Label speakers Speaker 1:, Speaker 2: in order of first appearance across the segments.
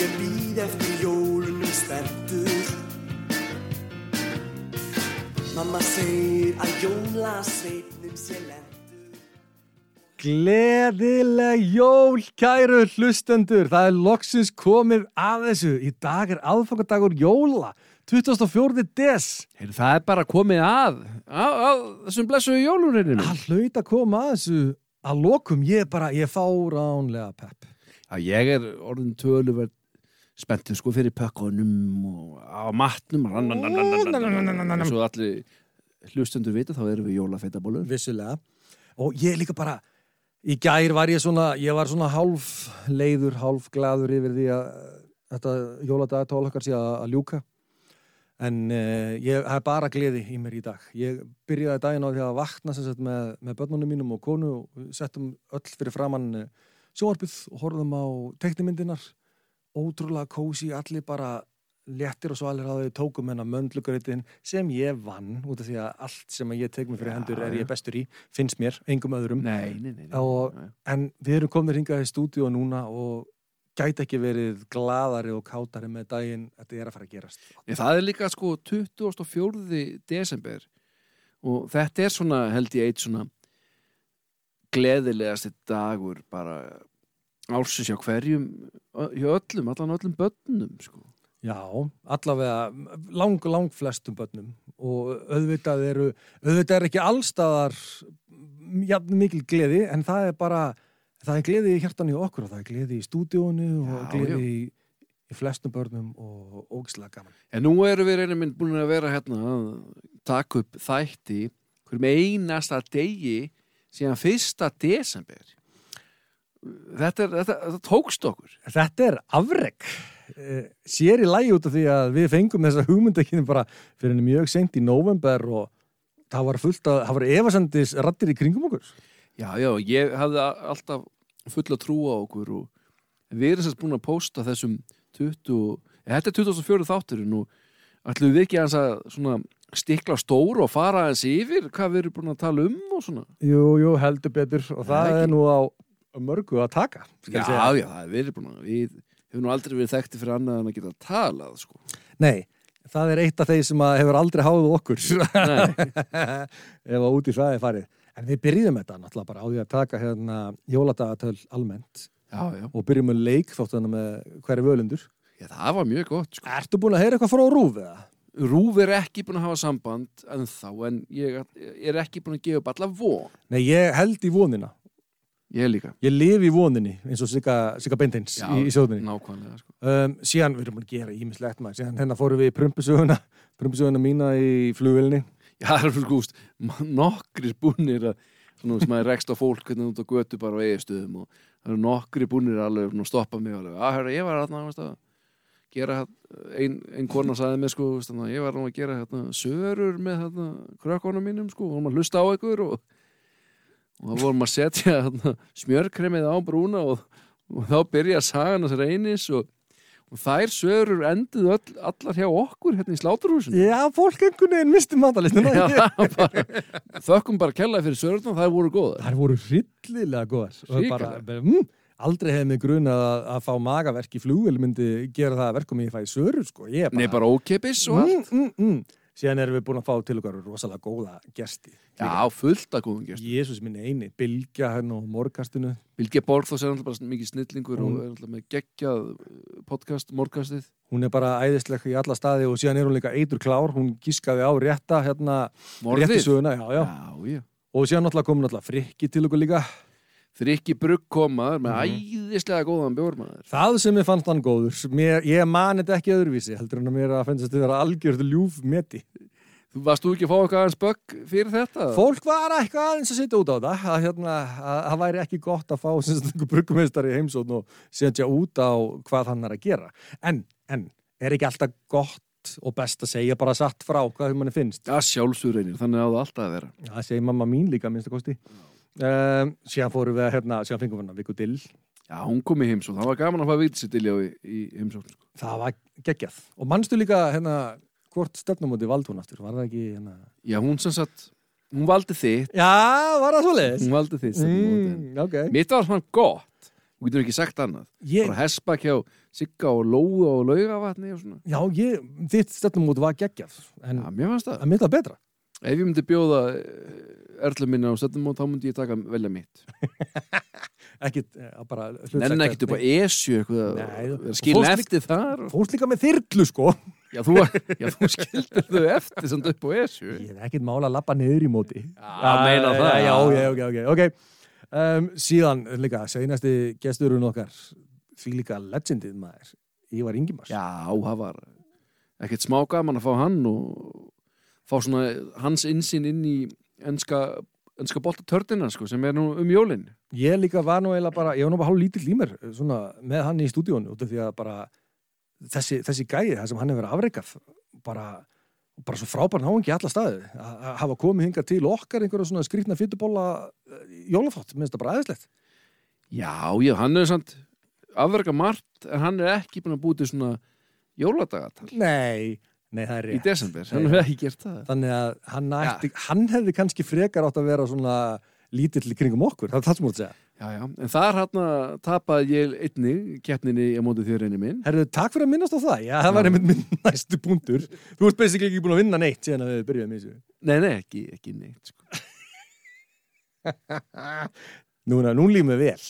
Speaker 1: Ég býð eftir jólunum spenntur Mamma segir að jólasveitnum sé lendur
Speaker 2: Gleðileg jól, kæru hlustendur. Það er loksins komið að þessu. Í dag er aðfangadagur jóla, 24. des.
Speaker 3: Heyrðu, það er bara komið að, að, að þessum blessuðu jólurinu.
Speaker 2: Það hlaut að koma að þessu að lokum. Ég er bara, ég er fáránlega pepp.
Speaker 3: Ég er orðin töluvert spenntur sko fyrir pökkunum og á matnum. Svo allir hlustendur vita þá erum við jólafeitabólur.
Speaker 2: Vissulega. Og ég er líka bara, í gær var ég svona, ég var svona hálf leiður, hálf gladur yfir því að eh, þetta jóladagatól okkar sé að, að ljúka. En uh, ég það er bara gleði í mér í dag. Ég byrjaði daginn á því að vakna sem sagt með, með börnunum mínum og konu og settum öll fyrir framann eh, sjónvarpið og horfðum á teknimyndinar. Ótrúlega kósi, allir bara léttir og svo allir að þau tókum hennar möndlugaritin sem ég vann út af því að allt sem ég tek mig fyrir hendur er
Speaker 3: já.
Speaker 2: ég bestur í, finnst mér, engum öðrum.
Speaker 3: Nei, nei, nei. nei.
Speaker 2: Og- En við erum komin hingað í stúdíu núna og gæti ekki verið gladari og kátari með daginn þetta er að fara að gerast.
Speaker 3: Nei, Það er líka sko 24. desember og þetta er svona held ég eitt svona gleðilegasti dagur bara ársins hjá hverjum ö- hjá öllum, allan öllum börnum sko.
Speaker 2: Já, allavega lang, lang flestum börnum og auðvitað eru, auðvitað er ekki allstaðar jafn mikil gleði en það er bara, það er gleði í hjartan í okkur og það er gleði í stúdíónu og
Speaker 3: Já,
Speaker 2: gleði í, í flestum börnum og ógislega gaman.
Speaker 3: En nú erum við reynir minn búin að vera hérna að taka upp þætti hverjum einasta degi síðan fyrsta desember. Þetta, er, þetta, þetta tókst okkur.
Speaker 2: Þetta er afreg Eh, sér í lagi út af því að við fengum þessa hugmyndakinn bara fyrir henni mjög seint í november og það var fullt að, það var efasendis rattir í kringum okkur.
Speaker 3: Já, já, ég hafði a- alltaf fulla trú á okkur og við erum sérst búin að pósta þessum 20, og- þetta er 2004 þátturinn og ætlum við ekki aðeins að svona stikla á stóru og fara aðeins yfir hvað við erum búin að tala um og svona.
Speaker 2: Jú, jú, heldur betur og það
Speaker 3: Ekki.
Speaker 2: er nú á mörgu að taka
Speaker 3: Já,
Speaker 2: skal ég segja.
Speaker 3: já, það er verið búin að, við hefum nú aldrei verið þekkti fyrir annað en að geta talað, sko.
Speaker 2: Nei, það er eitt af þeir sem að hefur aldrei háðu okkur
Speaker 3: Nei.
Speaker 2: ef að út í það er farið En við byrjum þetta náttúrulega bara á því að taka hérna jóladagatöl almennt
Speaker 3: Já, já,
Speaker 2: og byrjum með leik þóttan með hverju völundur
Speaker 3: já, það var mjög gott, sko.
Speaker 2: Ertu búin að heyra eitthvað frá rúf eða?
Speaker 3: Rúf er ekki búin að hafa samband en þá, en ég er ekki búin að gefa upp alla von.
Speaker 2: Nei, ég held í vonina
Speaker 3: Ég líka.
Speaker 2: Ég lifi í voninni eins og Sigga, Sigga Beinteins
Speaker 3: Já,
Speaker 2: í, í sjóðunni
Speaker 3: Nákvæmlega, sko.
Speaker 2: um, síðan við erum búin að gera ímislegt maður síðan hennar fórum við í prumpusöguna prumpusöguna mína í flugvilni
Speaker 3: Já, það er sko, fyrir gúst, nokkrir búnir að, svona, sem maður rekst á fólk hvernig út á götu bara á eigiðstöðum og það eru nokkrir búnir alveg að stoppa mig alveg, að hérna, ég var hérna, veist að gera hérna, ein, ein kona sagði mér sko, veist að ég var hérna að gera hérna sörur með hérna krökkunum mínum sko, og maður hlusta á ykkur og, og það vorum að setja hérna smjörkremið á brúna og, og þá byrja sagan hans reynis og, og þær sörur enduð öll, allar hjá okkur hérna í sláturhúsinu.
Speaker 2: Já, fólk einhvern veginn misti matalistuna
Speaker 3: Já, það var bara, þökkum bara kellaði fyrir sörðna, það voru góðar.
Speaker 2: Það voru hryllilega góðar Og
Speaker 3: Hrikalega.
Speaker 2: bara, bara, mm, Aldrei hefði mig grunað að, að fá magaverk í flugvél myndi gera það að verkum ég fæ sörur sko. Ég er
Speaker 3: Nei, bara ókeipis og allt.
Speaker 2: mm, mm, mm. Síðan erum við búin að fá til okkar rosalega góða gesti
Speaker 3: Já, fullt að góðum gæst.
Speaker 2: Jésús minni eini, hérna Bilgja henn og morgastinu
Speaker 3: Bilge Borgþós er alltaf bara mikið snillingur og er alltaf með geggjað uh, podcast, morgastið.
Speaker 2: Hún er bara æðisleg í alla staði og síðan er hún líka eitur klár, hún gískaði á rétta hérna,
Speaker 3: Morðið.
Speaker 2: réttu söguna, já, já.
Speaker 3: Já, já.
Speaker 2: Og síðan náttúrulega kom náttúrulega frikki til okkur líka.
Speaker 3: Frikki Brugg komaður með æðislega góðan bjórmaður.
Speaker 2: Það sem ég fannst hann góður, mér, ég mani þetta ekki öðruvísi, heldur hann að mér að finnst þetta vera algjörðu ljúf meti.
Speaker 3: Þú varst þú ekki að fá eitthvað aðeins bögg fyrir þetta?
Speaker 2: Fólk var eitthvað aðeins að sitja út á það, að hérna, að það væri ekki gott að fá sem sagt einhver bruggumeistari í heimsókn og setja út á hvað hann er að gera. En, en, er ekki alltaf gott og best að segja bara satt frá hvað manni finnst?
Speaker 3: Já, sjálfsögur reynir, þannig á það alltaf að vera.
Speaker 2: Já, það segir mamma mín líka, minnst að kosti. Um, síðan fórum við að, hérna, síðan fengum við hann að viku dill.
Speaker 3: Já, hún kom í heimsókn, það var gaman að fá vitið sér til í, í heimsókn. Sko.
Speaker 2: Það var geggjað. Og mannstu líka, hérna, hvort stefnumóti vald hún aftur? Var það ekki, hérna...
Speaker 3: Já, hún sem sagt, hún valdi þitt,
Speaker 2: Já, var það svoleiðis?
Speaker 3: hún valdi þitt. Mm.
Speaker 2: Mm, ok.
Speaker 3: Mitt var svona gott, þú getur ekki sagt annað.
Speaker 2: Ég,
Speaker 3: bara hessbakk hjá Sigga og Lóu og Laugavatni og svona
Speaker 2: Já, ég, þitt stefnum út var geggjað en
Speaker 3: Já, mér fannst það
Speaker 2: að mitt var betra
Speaker 3: Ef ég myndi bjóða eh, erlu minna á setjum og þá myndi ég taka velja mitt
Speaker 2: ekki eh, bara
Speaker 3: Nenna ekkit upp á ESU eitthvað að
Speaker 2: Nei,
Speaker 3: vera
Speaker 2: þú-
Speaker 3: skilin
Speaker 2: fórst
Speaker 3: eftir þar og...
Speaker 2: fórst líka með þyrlu sko
Speaker 3: já, þú, var- já, þú skildir þau eftir samt upp á ESU
Speaker 2: ég er ekkit mála að lappa niður í móti
Speaker 3: Já, meina það.
Speaker 2: já, já, ok, ok, ok um, síðan líka, seinasti gesturinn okkar því líka legendið maður Ívar Ingimars
Speaker 3: Já, það var ekkert smá gaman að fá hann og fá svona hans insinn inn í enska, enska boltatörnina sko, sem er nú um jólin
Speaker 2: ég líka var nú eiginlega bara, ég var nú bara hálf lítill í mér svona, með hann í stúdíónu út af því að bara þessi, þessi gæi, það sem hann hefur afreikað bara, bara svo frábæran háengi í alla staði að að hafa komið hingað til okkar einhverja svona skrýtna eh, fytubóla jólaþátt, minnst það bara aðeinslegt
Speaker 3: Já, já, hann er samt afverka margt en hann er ekki búin að búti svona jóladagatal
Speaker 2: nei, nei, það er
Speaker 3: í
Speaker 2: rétt
Speaker 3: desember, hann hefur ekki gert það
Speaker 2: þannig að hann, ætti, hann hefði kannski frekar átt að vera svona lítill í kringum okkur, það er það sem þú ert að segja
Speaker 3: Já, já, en þar hann tapaði ég einni keppninni á móti þér einni minn
Speaker 2: Herðu, takk fyrir að minnast á það, já, það var einmitt minn næstu punktur Þú ert basically ekki búin að vinna neitt síðan að við byrjuðum í þessu
Speaker 3: Nei, nei, ekki, ekki neitt sko.
Speaker 2: Núna, nú lífum við vel.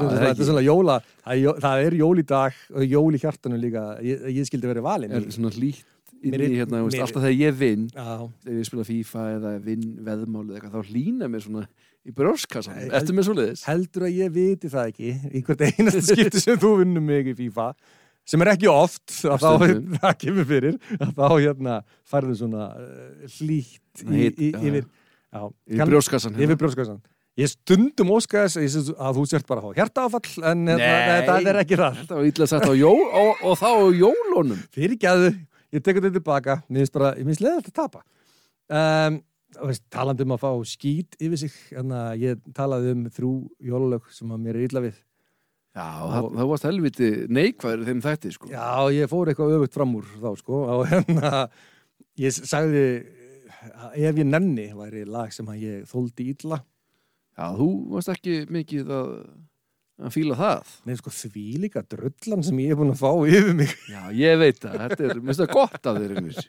Speaker 3: það er
Speaker 2: er svona-
Speaker 3: ekki.
Speaker 2: þetta er svona jóla, það er, jó- það er jól í dag og jól í hjartanum líka. Ég, ég skildi verið valinn.
Speaker 3: Er svona hlýtt inn
Speaker 2: Mér
Speaker 3: í
Speaker 2: er-
Speaker 3: hérna, þú veist,
Speaker 2: mér-
Speaker 3: alltaf þegar ég vinn
Speaker 2: Já,
Speaker 3: ef ég spila FIFA eða vinn veðmáli eða eitthvað, þá hlýna mér svona í brjóskassan,
Speaker 2: Nei,
Speaker 3: ertu með svoleiðis?
Speaker 2: heldur að ég viti það ekki í hvert einasta skipti sem þú vinnum mig í FIFA sem er ekki oft að þá,
Speaker 3: Stundum.
Speaker 2: það kemur fyrir að þá hérna færðu svona uh, hlýtt í,
Speaker 3: Hitt,
Speaker 2: í,
Speaker 3: já,
Speaker 2: yfir, já,
Speaker 3: Í hérna. brjóskassan
Speaker 2: yfir brjóskassan ég stundum óska þess að ég sé að þú sért bara á hjartaáfall en hérna,
Speaker 3: Nei.
Speaker 2: það er ekki það
Speaker 3: Þetta var illa sagt á jól og, og þá á jólunum
Speaker 2: fyrirgæðu, ég tekur þetta tilbaka mér finnst bara, mér finnst leðilegt að tapa um, þú veist, talandi um að fá skít yfir sig, en að ég talaði um þrjú jólalög sem að mér er illa við
Speaker 3: Já, það, það varst helviti neikvæður í þeim þætti, sko
Speaker 2: já, ég fór eitthvað öfugt fram úr þá sko, og hérna ég sagði að ef ég nenni væri lag sem að ég þóldi illa
Speaker 3: Já, þú varst ekki mikið að, að fíla það
Speaker 2: Nei, sko, því líka drullan sem ég er búin að fá yfir mig.
Speaker 3: Já, ég veit það, þetta er, minnst það gott að þeir einhvers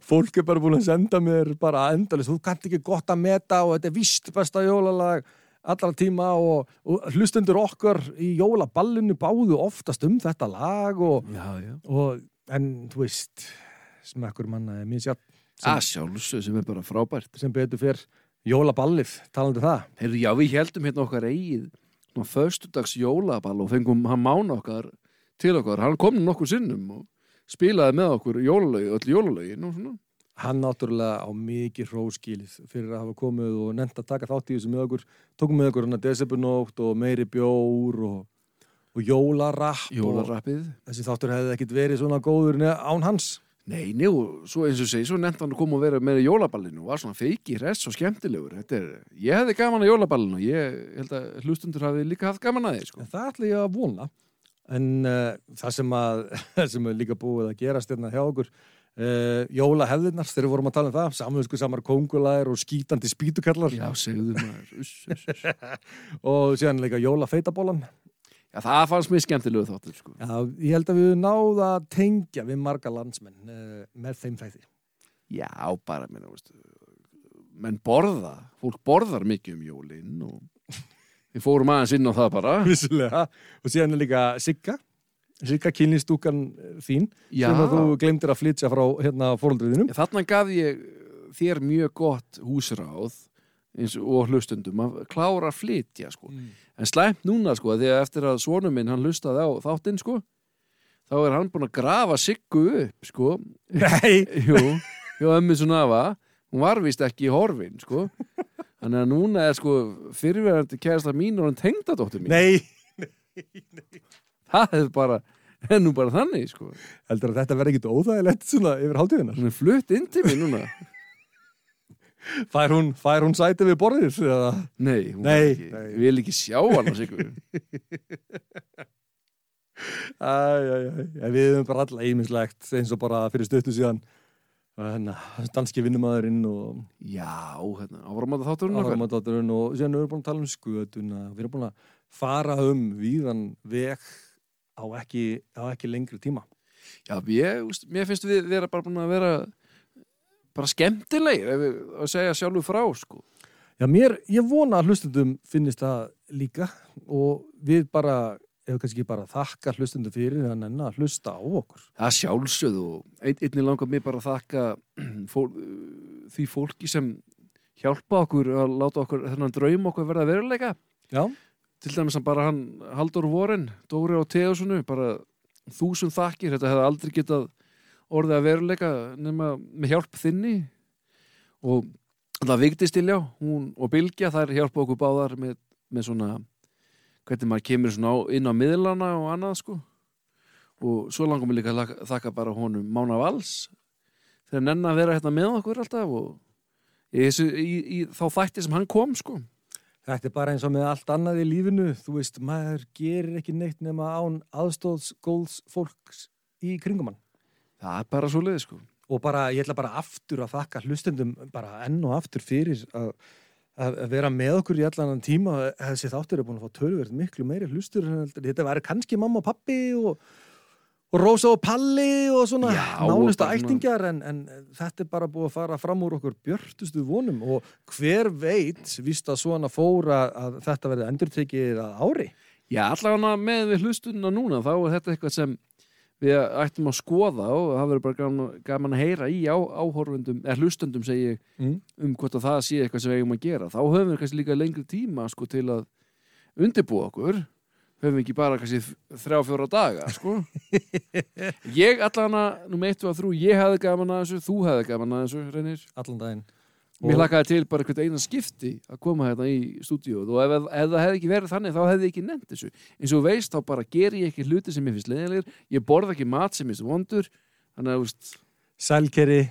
Speaker 2: Fólk er bara búin að senda mér bara endalist, þú kannt ekki gott að meta og þetta er víst besta jólalag allra tíma og, og hlustendur okkar í jólaballinu báðu oftast um þetta lag og,
Speaker 3: Já, já
Speaker 2: og en, þú veist, smekkur manna er minn sjálf
Speaker 3: Að sjálfsög sem er bara frábært
Speaker 2: sem betur fyrr jólaballið, talandi um það.
Speaker 3: Heyrðu, já, við heldum hérna okkar eigið Ná, föstudags jólaball og fengum hann mána okkar til okkar Hann kom nokkur sinnum og spilaði með okkur jólalögi, öll jólalögin og svona
Speaker 2: Hann náttúrulega á mikið hróskilið fyrir að hafa komið og nefnt að taka þátt í þessu með okkur. Tókum með okkur hann að desibunótt og meiri bjór og, og jólarapp.
Speaker 3: Jólarappið
Speaker 2: Og þessi þáttur hefði ekkit verið svona góður neð án hans.
Speaker 3: Nei, nei, og svo eins og segi, svo nefnt hann að koma og vera með í jólaballinu og var svona feiki, hress og skemmtilegur. Þetta er, ég hefði gaman að jólaballinu og ég held að hlustundur hafi líka haft gaman að því, sko.
Speaker 2: En það ætla ég að vona. En uh, það sem, að, sem er líka búið að gerast hérna hjá okkur, uh, jólahefðirnar, þegar við vorum að tala um það, samvinsku samar kongulær og skítandi spítukallar
Speaker 3: Já, segðu maður. Uss, uss, uss.
Speaker 2: og síðan líka jólafeitabólan.
Speaker 3: Já, það fannst mér skemmtilegu þáttur, sko.
Speaker 2: Já, ég held að við höfum náð að tengja við marga landsmenn uh, með þeim þætti.
Speaker 3: Já, bara, menn, veist, menn borða, fólk borðar mikið um jólin og við fórum aðeins inn á það bara.
Speaker 2: Vissulega. Og síðan er líka Sigga, Sigga kynlistúkan þín,
Speaker 3: Já.
Speaker 2: sem að þú glemdir að flytja frá hérna fóröldriðinum.
Speaker 3: Já, Þarna gaf ég þér mjög gott húsráð eins og hlustundum að klára að flytja, sko. En slæmt núna sko, því að eftir að svonum minn hann lustaði á þáttinn sko, þá er hann búinn að grafa Siggu upp sko,
Speaker 2: Nei,
Speaker 3: jú, jú, ömmu svona afa, hún var vist ekki í horfin sko, þannig að núna er sko fyrirverandi kærasta mín og hann tengdadóttir mín,
Speaker 2: nei.
Speaker 3: það er bara, er nú bara þannig sko,
Speaker 2: Heldur að þetta verði ekkit óþægilegt svona yfir hálftíðinar.
Speaker 3: hann er flutt inn til mín núna,
Speaker 2: Fær hún, fær hún sæti við borðið? Eða?
Speaker 3: nei, hún vil
Speaker 2: Nei,
Speaker 3: ekki,
Speaker 2: nei.
Speaker 3: vil ekki sjá hann Siggu,
Speaker 2: Æ, æ, æ, æ, við höfum bara alla ímislegt eins og bara fyrir stuttu síðan. Þannig að danski vinnumæðurinn og
Speaker 3: já, hérna, áramata þátturinn okkar,
Speaker 2: áramadótturinn og síðan erum við búin að tala um skötuna við erum búin að fara um víðan veg á ekki, á ekki lengri tíma
Speaker 3: Já, ég, úst, mér finnst við vera bara búin að vera bara skemmtilegir ef við að segja sjálfu frá, sko.
Speaker 2: Já, mér, ég vona að hlustendum finnist það líka og við bara, ef kannski bara þakka hlustendum fyrir að nenna að hlusta á okkur.
Speaker 3: Það sjálfsögðu og ein, einnig langar mér bara að þakka fól, því fólki sem hjálpa okkur að láta okkur þennan draum okkur verða að veruleika.
Speaker 2: Já,
Speaker 3: Til dæmis að bara hann Haldur Voren, Dóri og Teðursunu, bara þúsund þakkir, þetta hefði aldrei getað orðið að veruleika nema með hjálp þinni og það vigtist til já, hún og Bilgja þær hjálpa okkur báðar með, með svona hvernig maður kemur svona á, inn á miðlana og annað sko og svo langar mér líka að laka- þakka bara honum Mána Vals þegar nenn að vera hérna með okkur alltaf og í, þessu- í, í þá þætti sem hann kom sko
Speaker 2: þetta er bara eins og með allt annað í lífinu. Þú veist, maður gerir ekki neitt nema án aðstóðs góðs fólks í kringum hann.
Speaker 3: það er bara svo leiði sko
Speaker 2: Og bara, ég ætla bara aftur að þakka hlustendum bara enn og aftur fyrir að, að að vera með okkur í allan þennan tíma. Þessi þáttur er búin að fá tölverð miklu meiri hlustur. en heldur- Þetta væri kannski mamma og pappi og, og Rósa og Palli og svona
Speaker 3: Já,
Speaker 2: nánustu
Speaker 3: og bara svona-
Speaker 2: ættingjar en, en þetta er bara búið að fara fram úr okkur björtustu vonum og hver veit víst að svona fóra að þetta verði endurtekið að ári.
Speaker 3: Já, allavega með við hlustunna núna þá er þetta eitthvað sem við ættum að skoða og það verður bara gaman, gaman að heyra í á, áhorfundum, eða hlustundum segi ég,
Speaker 2: Mm.
Speaker 3: um hvort að það sé eitthvað sem við eigum að gera. Þá höfum við kannski líka lengri tíma sko til að undirbúa okkur höfum við ekki bara kannski þ- þrjá fjóra daga, sko Ég allavega, nú meittu að þrú ég hafði gaman að þessu, þú hafði gaman að þessu reynir,
Speaker 2: Allan daginn.
Speaker 3: mér hlakaði til bara hvert eina skipti að koma hérna í stúdíóð og ef, ef það hefði ekki verið þannig þá hefði ég ekki nefnt þessu eins og þú veist þá bara ger ég ekki hluti sem ég finnst leðilegir, ég borða ekki mat sem ég finnst vondur þannig að þú veist,
Speaker 2: Sælkeri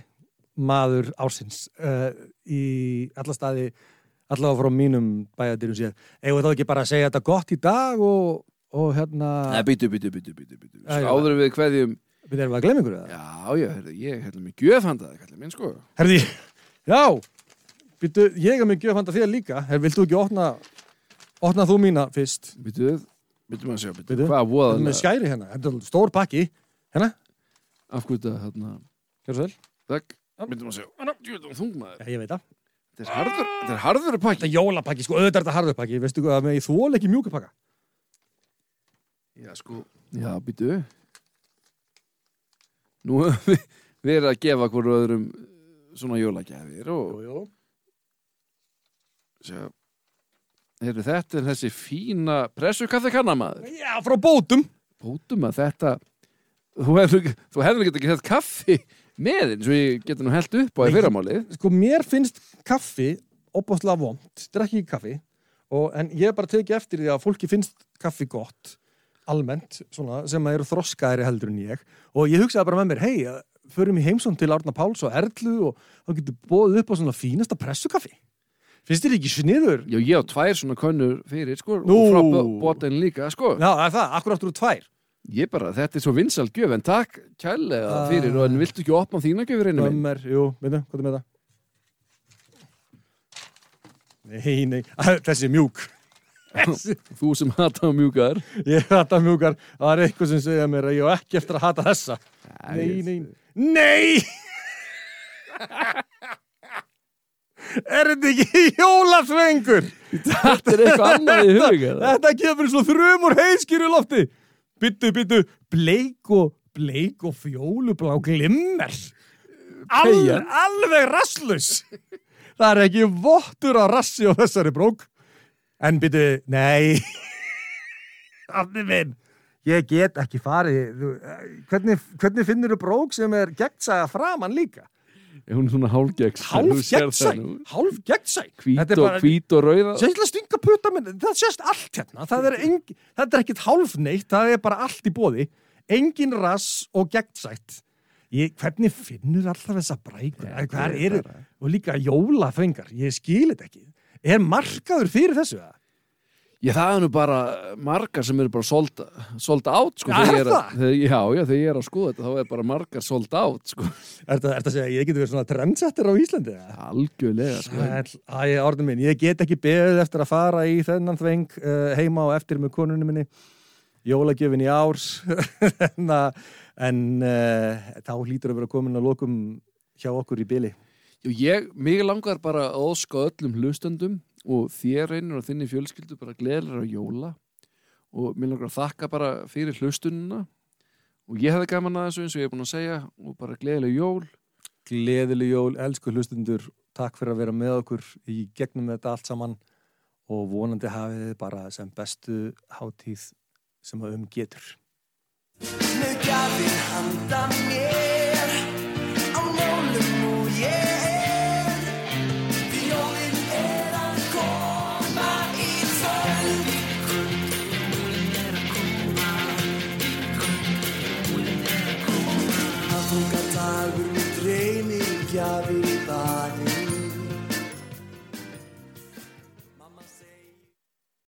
Speaker 2: maður ársins uh, í alla staði allavega frá mínum bæjadýrum séð. Eigum við þá ekki bara að segja þetta gott í dag og, og hérna
Speaker 3: neða býtu, býtu, býtu, býtu, býtu.
Speaker 2: Já, já.
Speaker 3: áður en við hverjum,
Speaker 2: við erum að glemma ykkur það.
Speaker 3: já, já, heyrðu, ég hefði mig gjöfandaði, kallar minn sko
Speaker 2: Herði, já býtu, ég er mjög gjöfand að þér líka Herði, vilt þú ekki opna opna þú mína fyrst
Speaker 3: býtu, býtu maður að segja,
Speaker 2: Bíddu,
Speaker 3: býtu, hvað
Speaker 2: Þetta er með
Speaker 3: voða
Speaker 2: skæri hérna, þetta er stór pakki hérna,
Speaker 3: af hverju þetta, hérna,
Speaker 2: hér svo vel
Speaker 3: takk býtu maður að segja, "Á, djöfull, hún þungmaður."
Speaker 2: Já, ég veit það.
Speaker 3: þetta er harður, þetta er harður pakki
Speaker 2: Þetta er jólapakki, sko, auðvitað er þetta harðurpakki veistu hvað, með ég þvól ekki mjúka pakka
Speaker 3: Já, sko. Já, býtu. Nú höfum við verið að gefa hverju öðrum svona jólagjafir og
Speaker 2: jú.
Speaker 3: sjá. Heyrðu, þetta er þessi fína pressukaffi kannamaður.
Speaker 2: Já, frá bótum
Speaker 3: Bótum að þetta, þú hefur, ekki- þú hefur ekki þetta kaffi með eins og ég getur nú held upp á í
Speaker 2: Nei.
Speaker 3: fyrramálið.
Speaker 2: Sko, mér finnst kaffi opbóðslega vond, drekki ekki kaffi og, en ég hef bara tekið eftir því að fólki finnst kaffi gott almennt, svona, sem að eru þroskaðri heldur en ég og ég hugsaði bara með mér, hei, förum í heimsón til Árna Páls og Erlu og þá getur bóðið upp á svona fínasta pressukaffi finnst þér ekki sniður?
Speaker 3: Já, ég á tvær svona könnur fyrir, sko,
Speaker 2: Nú.
Speaker 3: og frá bóten líka, sko.
Speaker 2: Já, það er það, akkur áttur úr tvær
Speaker 3: Ég bara, þetta er svo vinsal gjöf, en takk kærlega
Speaker 2: Ah.
Speaker 3: fyrir, og en viltu ekki opna þína gjöfur einu minn?
Speaker 2: Ömmer, jú, veitum, hvað er með það? Nei, nei, þessi er mjúk Þessi
Speaker 3: Þú sem hata mjúkar.
Speaker 2: Ég hata mjúkar, það er eitthvað sem segja mér að ég á ekki eftir að hata þessa. Nei,
Speaker 3: ég-
Speaker 2: nei, nei! er þetta ekki jólasvengur?
Speaker 3: Þetta er eitthvað annað í huga
Speaker 2: Þetta kemur svo þrumur heiskýru lofti. Byttu, byttu, bleik og, bleik og fjólublá glimmer. Al,
Speaker 3: Peyjan.
Speaker 2: alveg rasslus. Það er ekki vottur að rassi á þessari brók. En byttu, nei. Afni minn. Ég get ekki farið. Þú- eh, Hvernig, hvernig finnur þú brók sem er gegnsæða framann líka?
Speaker 3: Hún er svona hálfgeggs
Speaker 2: Hálf gegnsæ, hálf gegnsæ.
Speaker 3: Hvít og, hvít og rauða
Speaker 2: Sérstaklega stinga putta minn, það sést allt hérna, það er engi, þetta er ekkit hálfneitt, það er bara allt í bóði, engin rass og gegnsætt. Ég, hvernig finnur alltaf þessa brækur, ja, hvað
Speaker 3: ég
Speaker 2: eru,
Speaker 3: bara-
Speaker 2: og líka jólafengar, ég skil þetta ekki. Er markaður fyrir þessu það?
Speaker 3: Já, það er nú bara margar sem eru bara sold, sold out sko,
Speaker 2: Já,
Speaker 3: þegar ég
Speaker 2: er
Speaker 3: að-
Speaker 2: það?
Speaker 3: þegar- Já, já, þegar ég er að skoða þetta þá er bara margar sold out sko.
Speaker 2: Er þetta að segja, að ég geti verið svona trendsetter á Íslandi? eða?
Speaker 3: Algjörlega sko.
Speaker 2: Sæll, Æ, orðin eh, minn, ég get ekki beðið eftir að fara í þennan þveng uh, heima og eftir með konunni minni. jólagjöfin í árs en, að- en uh, þá hlýtur að vera komin að lokum hjá okkur í byli
Speaker 3: Jú, ég, mig langar bara að óska öllum hlustendum og þér einur og þinni fjölskyldu bara gleðilega jóla og mér langar að þakka bara fyrir hlustunina og ég hefði gaman að þessu eins og ég er búin að segja og bara gleðilega jól
Speaker 2: Gleðileg jól, elsku hlustundur takk fyrir að vera með okkur í gegnum þetta allt saman og vonandi hafið þið bara sem bestu hátíð sem að um getur
Speaker 1: með gjafir handa mér á jólum og ég er því jólin er að koma í kvöld aðfunga dagur með dreymi gjafir